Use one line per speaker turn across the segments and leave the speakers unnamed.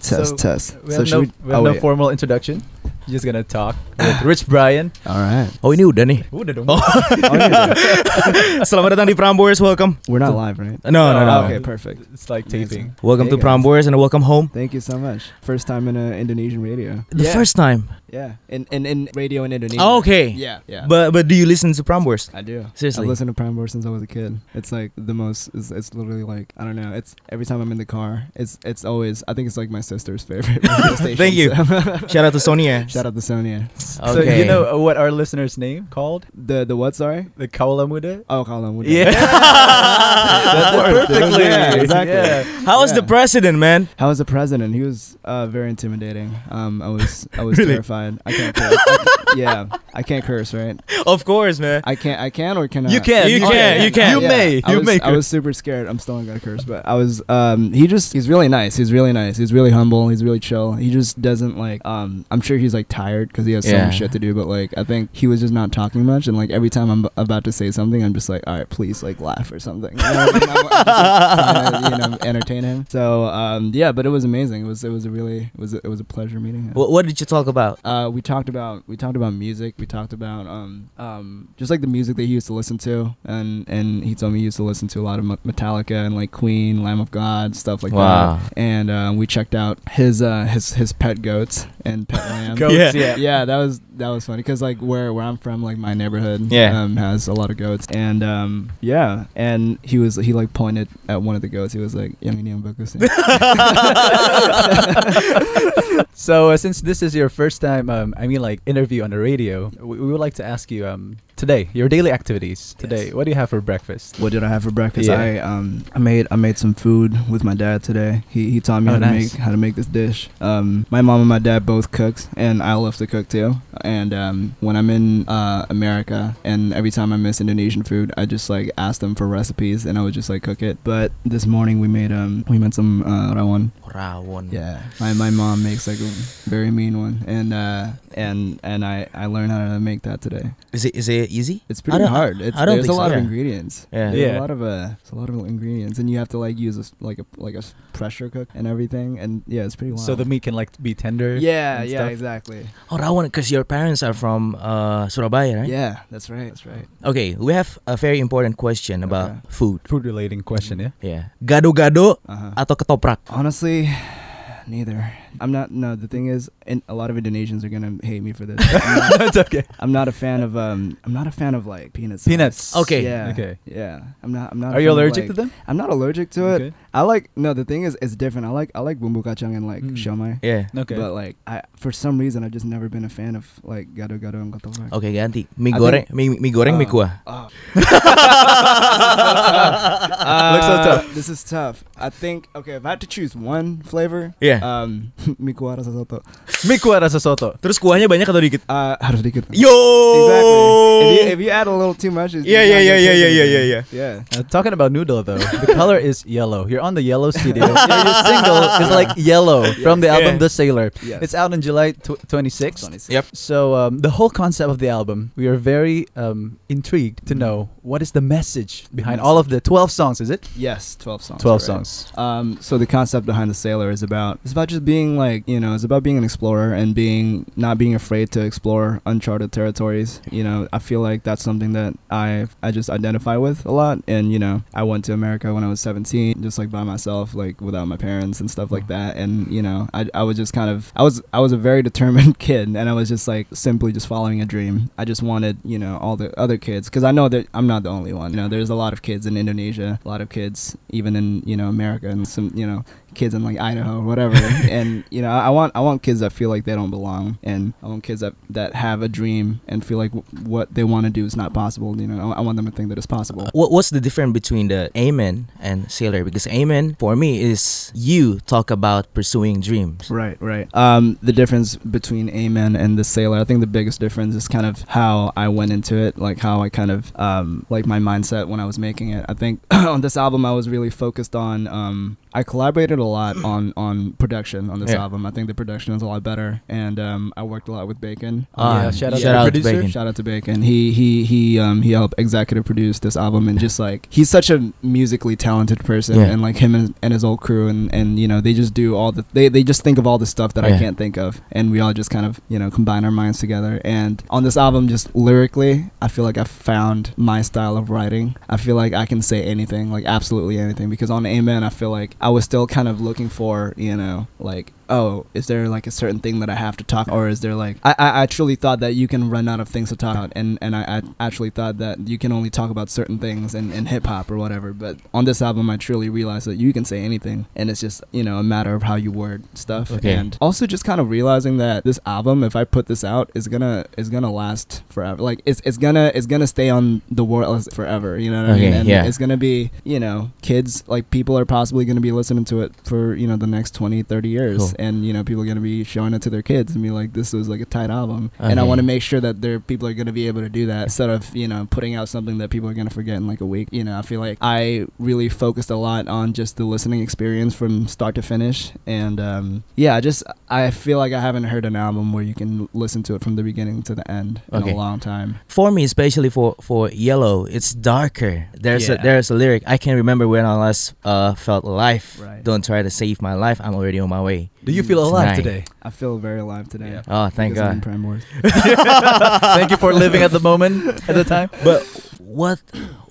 Test,
So,
test. So
We have no,
should we?
we have
oh,
no
wait.
formal introduction. Just gonna talk with Rich Brian.
All right.
Oh ini udah nih.
Udah dong.
Oh, yeah, yeah.
Selamat datang di Prom Boys. Welcome.
We're not live, right?
No, no, no.
Oh,
Okay, perfect.
It's like taping.
Welcome
Hey,
to Prom
guys.
Boys and welcome home.
Thank you so much. First time in uh, Indonesian radio.
The
Yeah.
first time.
Yeah, in in, in radio in Indonesia.
Oh, okay.
Yeah, yeah.
But but do you listen to Prom Boys?
I do.
Seriously.
I've listened to Prime Boy since I was a kid. It's like the most. It's, it's literally like I don't know. It's every time I'm in the car. It's it's always. I think it's like my sister's favorite. radio station,
Thank you.
so-
Shout out to Sonia.
Shout out to Sonia.
So you
Okay.
know uh, what our listener's name called?
The the what? Sorry.
The Kaulamuda.
Oh, Colin. Woodard.
Yeah.
That's
Worked.
perfectly.
Yeah, exactly.
Yeah.
How was the
Yeah.
president, man?
How was the president? He was uh, very intimidating. Um, I was I was
Really?
terrified. I can't. Curse. I c- yeah, I can't curse, right?
Of course, man.
I can't. I can or cannot.
You can.
You
You
can,
can.
you can.
You may.
I
You
was,
may.
I was super scared. I'm still not gonna curse, but I was. Um, he just. He's really nice. He's really nice. He's really humble. He's really chill. He just doesn't like. Um, I'm sure he's like tired because he has so
Yeah.
much shit to do. But like, I think he was just not talking much. And like every time I'm b- about to say something, I'm just like, all right, please like laugh or something. You know what I mean? I'm, I'm just, like, trying to, you know, entertain him. So um, yeah, but it was amazing. It was. It was a really. It was. A, it was a pleasure meeting him.
What, what did you talk about?
Uh, we talked about we talked about music. We talked about um, um, just like the music that he used to listen to, and and he told me he used to listen to a lot of Me- Metallica and like Queen, Lamb of God, stuff like
Wow.
that. And um, we checked out his uh, his his pet goats and pet lamb.
Goats, yeah.
Yeah.
Yeah, that was that was funny because like where where I'm from, like my neighborhood,
Yeah.
um, has a lot of goats, and um, yeah, and he was he like pointed at one of the goats. He was like, "Yang ini yang bagus nih."
So uh, since this is your first time, um, I mean, like interview on the radio, we, we would like to ask you um, today your daily activities today.
Yes.
What do you have for breakfast?
What did I have for breakfast?
Yeah.
I um I made I made some food with my dad today. He he taught me
Oh,
how
nice.
to make how to make this dish. Um, my mom and my dad both cooks, and I love to cook too. And um, when I'm in uh, America, and every time I miss Indonesian food, I just like ask them for recipes, and I would just like cook it. But this morning we made um we made some uh, rawon.
Rawon.
Yeah, my my mom makes like a very mean one, and uh and and I I learned how to make that today.
Is it is it easy?
It's
I
pretty
don't-
hard. It's,
I don't
there's a
think so.
lot
Yeah.
of ingredients.
Yeah.
There's
Yeah.
a lot of uh, it's a lot of ingredients, and you have to like use a s like a like a s- pressure cook and everything, and yeah, it's pretty wild.
So the meat can like be tender.
yeah,
and
yeah,
stuff.
exactly.
Oh, Rawon, because your parents are from uh, Surabaya, right?
Yeah, that's right. That's right.
Okay, we have a very important question about
Okay.
food.
Food relating question, yeah.
Yeah. Gado-gado
Uh-huh.
atau ketoprak?
Honestly, neither. I'm not. No, the thing is, and a lot of Indonesians are gonna hate me for this. I'm not,
That's okay.
I'm not a fan of um. I'm not a fan of like peanuts.
Peanuts.
Okay.
Yeah.
Okay.
Yeah. I'm not. I'm not. a
Are you
fan of,
allergic
like-
to them?
I'm not allergic to it.
Okay.
I like. No, the thing is, it's different. I like. I like bumbu kacang and like
Mm.
siomay.
Yeah.
Okay.
But like I for some reason I've just never been a fan of like gado gado and ketoprak.
Oke, ganti.
I
Mie goreng, mie, mie goreng, mie
Oh.
kuah.
Oh.
Uh, Looks so tough.
This is tough. I think okay, if I had to choose one flavor,
Yeah.
um mikuara sasoto.
Mie kuah rasa soto.
Terus kuahnya banyak atau dikit?
Uh harus dikit.
Yo.
Exactly. If you, if you add a little too much, it's
Yeah,
it's
yeah,
not gonna
yeah, yeah,
taste
yeah, yeah,
anything.
yeah,
yeah.
Uh, talking about noodle though, the color is yellow. You're on the yellow studio. Your single is like yellow from the album
Yeah.
The Sailor.
Yes.
It's out on July tw- 26th.
26.
Yep.
So um, the whole concept of the album, we are very um, intrigued to
Mhm.
know what is the message behind all of the 12 songs. Is it
Yes, 12 songs.
12
right.
songs?
Um, so the concept behind the sailor is about it's about just being like you know it's about being an explorer and being not being afraid to explore uncharted territories. You know, I feel like that's something that I I just identify with a lot. And you know, I went to America when I was 17, just like by myself, like without my parents and stuff like that. And you know, I I was just kind of I was I was a very determined kid, and I was just like simply just following a dream. I just wanted you know all the other kids because I know that I'm not the only one. You know, there's a lot of kids in Indonesia, a lot of kids even in you know America, and some you know kids in like Idaho or whatever. and you know, I want I want kids that feel like they don't belong, and I want kids that that have a dream and feel like w- what they want to do is not possible. You know, I, I want them to think that it's possible.
What what's the difference between the amen and sailor? Because amen for me is you talk about pursuing dreams.
Right, right. Um, the difference between Amen and the Sailor, I think the biggest difference is kind of how I went into it, like how I kind of um, like my mindset when I was making it. I think on this album I was really focused on. Um, I collaborated a a lot on on production on this
Yeah.
album. I think the production is a lot better, and um, I worked a lot with Bacon. Um,
Ah,
Yeah, shout out
to Bacon.
to the
out to
producer.
Bacon.
Shout out to Bacon. He he he um he helped executive produce this album and just like he's such a musically talented person
Yeah.
and like him and, and his old crew and and you know they just do all the they, they just think of all the stuff that I
Yeah.
can't think of and we all just kind of you know combine our minds together and on this album just lyrically I feel like I found my style of writing. I feel like I can say anything like absolutely anything because on Amen I feel like I was still kind of looking for you know like oh, is there like a certain thing that I have to talk, or is there like I, I actually thought that you can run out of things to talk about, and and I, I actually thought that you can only talk about certain things in, in hip hop or whatever. But on this album, I truly realized that you can say anything, and it's just you know a matter of how you word stuff,
Okay.
and also just kind of realizing that this album, if I put this out, is gonna is gonna last forever. Like it's it's gonna it's gonna stay on the world forever. You know what I mean?
Okay,
And
yeah.
it's gonna be you know kids like people are possibly gonna be listening to it for you know the next 20 30 years
Cool.
and you know people are going to be showing it to their kids and be like this was like a tight album and i
Okay.
want to make sure that their people are going to be able to do that instead of you know putting out something that people are going to forget in like a week you know i feel like i really focused a lot on just the listening experience from start to finish and um, yeah I just i feel like i haven't heard an album where you can listen to it from the beginning to the end in
Okay.
a long time
for me especially for for yellow it's darker there's a
Yeah.
there's a lyric i can remember when i last uh felt alive
Right.
don't try to save my life i'm already on my way
Do you
Mm.
feel alive
Tonight.
today?
i feel very alive today
Yeah.
oh thank
because I'm in
god
Prime Wars.
Thank you for living at the moment, at the time.
but what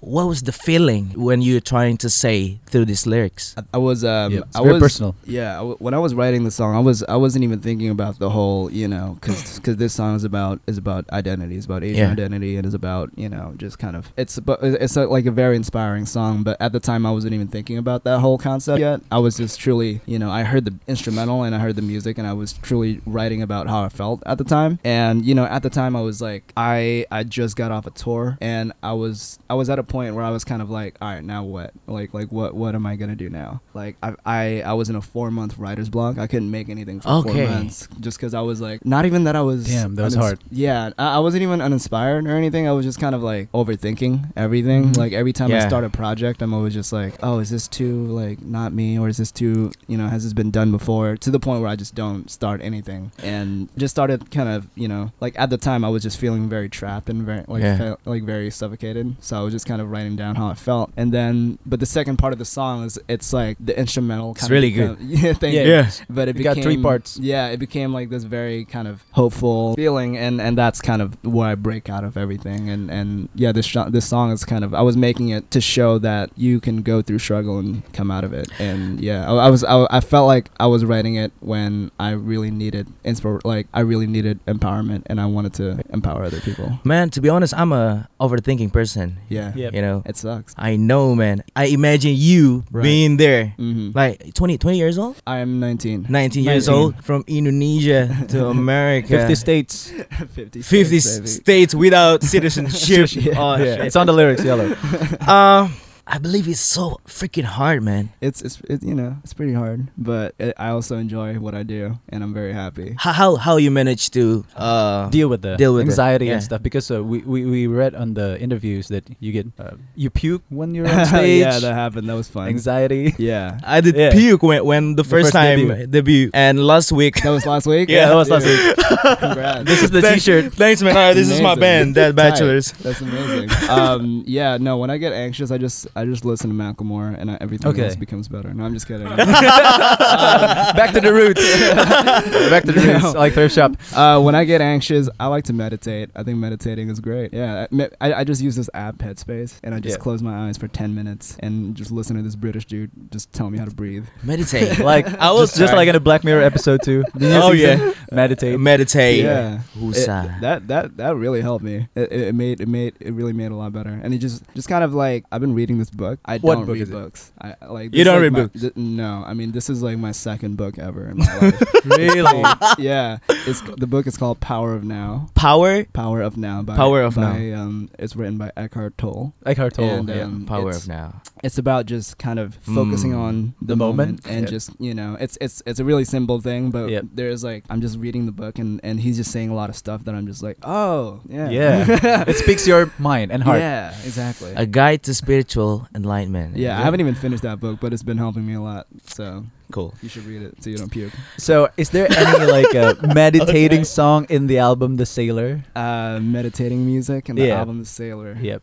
what was the feeling when you're trying to say through these lyrics
I, I was um
Yeah, it's
I
very
was
personal.
Yeah, I w- when I was writing the song, I was I wasn't even thinking about the whole, you know, because this song is about is about identity, it's about Asian
Yeah.
identity, and it's about you know just kind of it's about it's a, like a very inspiring song. But at the time, I wasn't even thinking about that whole concept yet. I was just truly, you know, I heard the instrumental and I heard the music, and I was truly writing about how I felt at the time. And you know, at the time, I was like, I I just got off a tour, and I was I was at a point where I was kind of like, all right, now what? Like like what what am I gonna do now? Like I I, I was in a four month writer's block. I couldn't make anything for
Okay.
four months just because I was like, not even that I was
Damn, that was
unins-
hard.
Yeah, I, I wasn't even uninspired or anything. I was just kind of like overthinking everything.
Mhm.
Like every time I
Mm-hmm. Yeah.
start a project, I'm always just like, oh, is this too like not me, or is this too you know has this been done before? To the point where I just don't start anything and just started kind of you know like at the time I was just feeling very trapped and very like
Yeah.
fe- felt, like very suffocated. So I was just kind of writing down how I felt, and then but the second part of the song is it's like the instrumental. Kind
It's
of
really
become- yeah, thank
Yeah.
you.
Yeah.
But it
You got
became,
three parts.
Yeah, it became like this very kind of hopeful feeling, and and that's kind of where I break out of everything. And and yeah, this sh- this song is kind of I was making it to show that you can go through struggle and come out of it. And yeah, I, I was I, I felt like I was writing it when I really needed inspir like I really needed empowerment, and I wanted to empower other people.
man to be honest i'm a overthinking person
Yeah,
Yeah.
you know
it sucks.
i know man i imagine you
Right.
being there
hmm
like 20 20 years old
I am 19.
19 years
19.
old from indonesia to america
50 states.
50.
50 states without citizenship.
Yeah.
Oh,
Yeah,
shit.
it's on the lyrics, yellow.
Um, I believe it's so freaking hard, man.
It's, it's it, you know it's pretty hard, but it, I also enjoy what I do, and I'm very happy.
How how, how you manage to uh
deal with the
Deal with it,
anxiety and
yeah.
stuff because uh, we, we, we read on the interviews that you get uh, you puke when you're on stage
yeah, that happened. That was fun.
anxiety
Yeah,
I did
Yeah.
puke when, when the, first,
first
time
debut.
debut. and last week.
that was last week.
Yeah, that was last
Dude, Congrats.
this is the
Thanks-
t-shirt
Thanks, man. Alright, this is my
Amazing.
band, Dead
Tight.
Bachelors.
That's amazing. um, yeah, no. When I get anxious, I just I just listen to Macklemore, and I, everything
Okay.
else becomes better. No, I'm just kidding. Um,
Um, back to the roots back to the
No.
roots like thrift shop
uh, when I get anxious, I like to meditate. I think meditating is great. Yeah, I, me- I, I just use this app, Headspace, and I just
Yeah.
close my eyes for 10 minutes and just listen to this British dude just tell me how to breathe.
Meditate.
like
I was
just, just
trying.
like in a Black Mirror episode too The new
Oh,
season,
yeah.
meditate
Meditate.
Yeah. It,
Husa.
that that that really helped me. It, it, it made it made it really made a lot better. And it just just kind of like I've been reading this book. I
What
don't
book
read
is it?
books. I like
You
this is
don't
like
read
my-
books?
th- no, I mean this is like my second book ever in my life.
really
yeah, it's the book is called Power of Now.
Power.
Power of Now by
Power of
by, Um, it's written by Eckhart Tolle.
Eckhart Tolle
And,
yeah.
um,
Power
it's-
of now.
it's about just kind of focusing
Mm.
on the,
The moment.
moment, and
Yeah.
just you know it's it's it's a really simple thing but
Yep.
there's like i'm just reading the book and and he's just saying a lot of stuff that i'm just like oh yeah
yeah it speaks your mind and heart
yeah exactly
A guide to spiritual enlightenment.
yeah, I haven't even finished that book, but it's been helping me a lot. So
Cool.
You should read it so you don't puke.
So, is there any like a meditating song in the album The Sailor?
Uh, meditating music and the
Yeah.
album The Sailor.
Yep.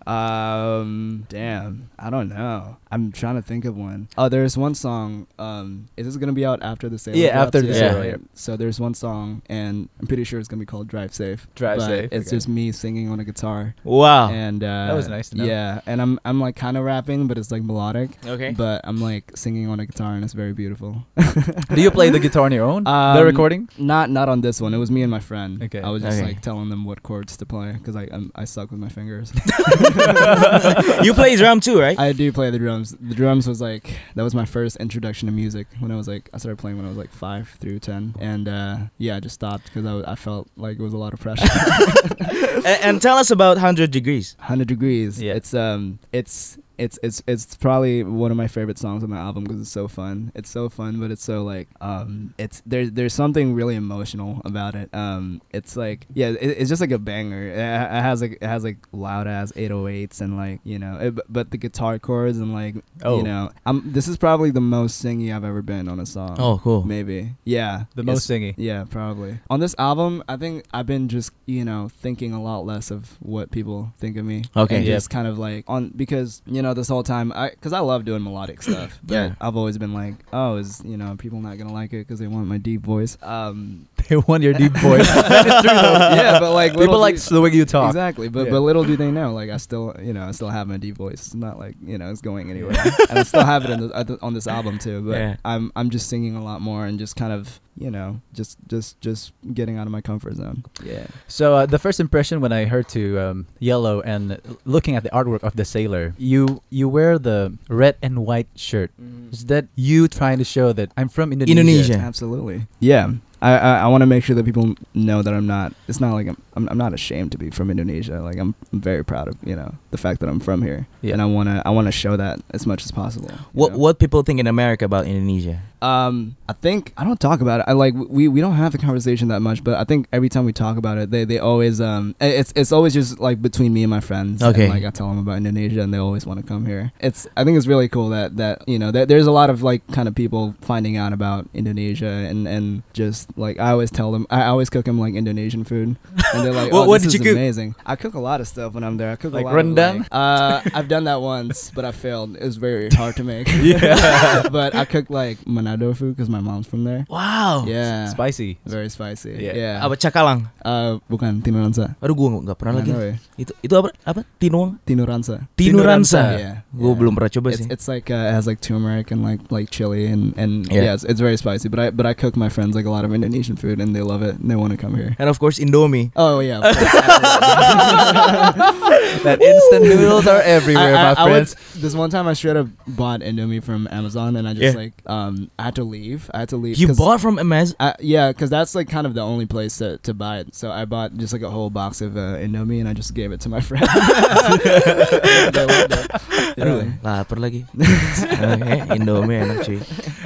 Um, damn, I don't know. I'm trying to think of one. Oh, there's one song. Um, is this gonna be out after the Sailor?
Yeah,
drops?
after The
Sailor,
yep.
So there's one song, and I'm pretty sure it's gonna be called Drive Safe.
Drive
but
Safe,
It's
okay. Ah,
just me singing on a guitar.
Wow.
And uh,
was nice to know.
Yeah, and I'm I'm like kind of rapping, but it's like melodic.
okay.
But I'm like singing on a guitar, and it's very beautiful.
Do you play the guitar on your own? the
Um,
recording?
Not not on this one. It was me and my friend.
Okay.
I was just
Okay.
like telling them what chords to play because I um, i I suck with my fingers.
you play drum too, right?
I do play the drums. The drums was like that was my first introduction to music when I was like I started playing when I was like five through ten, and uh, yeah, I just stopped because I, was- I felt like it was a lot of pressure.
and, and tell us about 100 degrees.
Hundred degrees.
Yeah.
It's um, it's it's it's it's probably one of my favorite songs on the album because it's so fun. It's so fun, but it's so like um, it's there's there's something really emotional about it. Um, it's like yeah, it, it's just like a banger. It, ha- it has like it has like loud ass 808s and like you know, it, but the guitar chords and like
Oh.
you know, I'm this is probably the most singy I've ever been on a song.
Oh, cool.
maybe yeah,
The
It's-
most singing.
yeah, probably. On this album, I think I've been just, you know, thinking a lot less of what people think of me.
Okay.
And
Yep.
just kind of like on because, you know, this whole time I cuz I love doing melodic stuff, but
Yeah.
I've always been like, oh, is, you know, people not going to like it cuz they want my deep voice. Um
They want your deep voice.
yeah, but like
People
little
like
do-
the way you talk.
Exactly, but
Yeah.
but little do they know, like I still, you know, I still have my deep voice. It's not like you know it's going anywhere, and I still have it in the, at the- on this album too. But
Yeah.
I'm I'm just singing a lot more and just kind of you know just just just getting out of my comfort zone. Yeah,
So uh, the first impression when I heard to um, Yellow and looking at the artwork of the sailor, you you wear the red and white shirt. Is that you trying to show that I'm from Indonesia?
Indonesia. Yeah.
absolutely. Yeah, I I, I want to make sure that people know that I'm not. It's not like I'm I'm, I'm not ashamed to be from Indonesia. Like I'm, I'm very proud of you know the fact that I'm from here,
Yeah.
and I wanna I wanna show that as much as possible. you
What
know?
what people think in America about Indonesia?
Um, I think I don't talk about it. I like we, we don't have the conversation that much, but I think every time we talk about it, they, they always um i- it's it's always just like between me and my friends. and,
Okay.
like I tell them about Indonesia, and they always want to come here. It's I think it's really cool that that you know that there's a lot of like kind of people finding out about Indonesia and and just like I always tell them I I always cook them like Indonesian food, and they're like,
What-
oh,
what
this is
did you cook?
Amazing. I cook a lot of stuff when I'm there. I cook
Like
a lot
rendang?
Of, like, uh, I've done that once, but I failed. It was very hard to make
Yeah.
but I cook like Manado food because my mom's from there.
Wow.
Yeah,
Spicy.
very spicy.
Yeah.
Yeah,
Apa cakalang?
Uh, bukan tinuransa.
Aduh, gua nggak pernah lagi.
Manado eh?
Itu itu apa? Apa? Tinuang?
Tinuransa.
Tinuransa.
Yeah,
Gua
yeah.
belum pernah coba
It's,
sih.
it's like uh, it has like turmeric and like like chili and and
Yeah.
yeah, it's, it's very spicy. But I but I cook my friends like a lot of Indonesian food and they love it and they want to come here.
And of course Indomie.
Oh yeah, of course, absolutely.
that instant noodles are everywhere,
I- I- I
my
would-
friends.
this one time I straight up bought Indomie from Amazon and I just
Yeah.
like um I had to leave. I had to leave.
You
'cause-
bought from Amazon?
I, yeah, because that's like kind of the only place to, to buy it. So I bought just like a whole box of uh, Indomie and I just gave it to my friend. They loved it. Um,
Aduh,
Yeah.
lapar lagi. okay, Indomie enak cuy.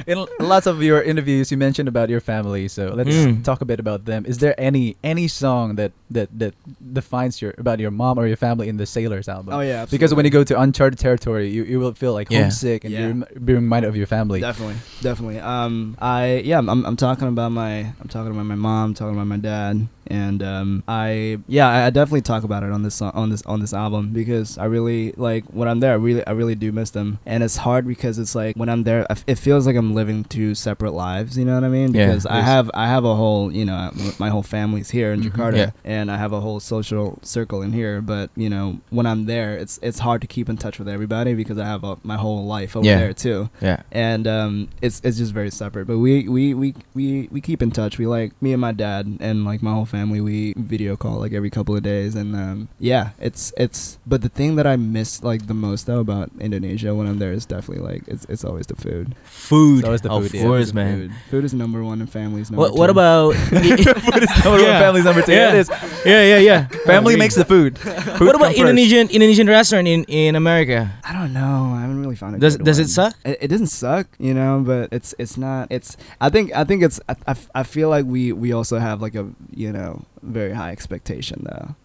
In lots of your interviews, you mentioned about your family, so let's
Mm.
talk a bit about them. Is there any any song that that that defines your about your mom or your family in the Sailors album?
Oh yeah,
Because when you go to uncharted territory, you, you will feel like
Yeah.
homesick and
Yeah.
you rem- be reminded of your family.
definitely, definitely. Um, I yeah, I'm, I'm talking about my I'm talking about my mom, talking about my dad, and um, I yeah, I, I definitely talk about it on this so- on this on this album because I really like when I'm there, I really I really do miss them, and it's hard because it's like when I'm there, I f- it feels like I'm living two separate lives. You know what I mean?
Yeah,
Because I
yes.
have I have a whole you know my whole family's here in
Mhm.
Jakarta,
Yeah.
and I have a whole social circle in here. But you know when I'm there, it's it's hard to keep in touch with everybody because I have a, my whole life over
Yeah.
there too
Yeah.
and um, it's it's just very separate. But we we, we we we keep in touch. We like me and my dad and like my whole family. We video call like every couple of days, and um, yeah, it's it's. But the thing that I miss like the most though about Indonesia when I'm there is definitely like it's it's always the food.
Food.
It's always the
of
food, yeah.
course,
Food.
man.
Food is number one and families number.
What what
two.
about
Food is number one,
Yeah.
family's number two.
Yeah.
It is.
Yeah, yeah, yeah.
Family makes the food. Food
What
come
about
first.
Indonesian Indonesian restaurant in in America?
I don't know. I haven't really found it.
Does- does it suck?
It, it doesn't suck, you know, but it's it's not. It's I think I think it's I, I f- I feel like we we also have like a you know very high expectation though.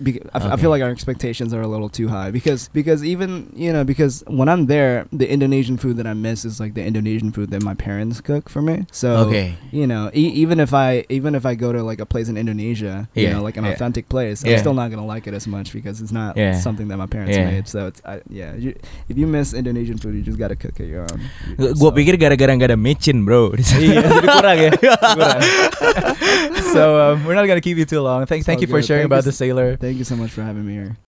Be- I, f- I
Okay.
feel like our expectations are a little too high because because even you know because when I'm there, the Indonesian food that I miss is like the Indonesian food that my parents cook for me. So
okay.
you know, e- even if I even if I go to like a place in Indonesia, you
Yeah,
know, like an
yeah.
authentic place, I'm
Yeah.
still not gonna like it as much because it's not
Yeah.
something that my parents
Yeah.
made. So it's I, yeah, you, if you miss Indonesian food, you just gotta cook it your own.
Gue
yourself.
pikir gara-gara gak ada micin bro.
Iya, jadi kurang ya. Kurang. so um, we're not gonna keep you too long. Thank,
It's
thank
all
you for
good.
sharing
Thank you
about the
s-
sailor.
Thank you so much for having me here.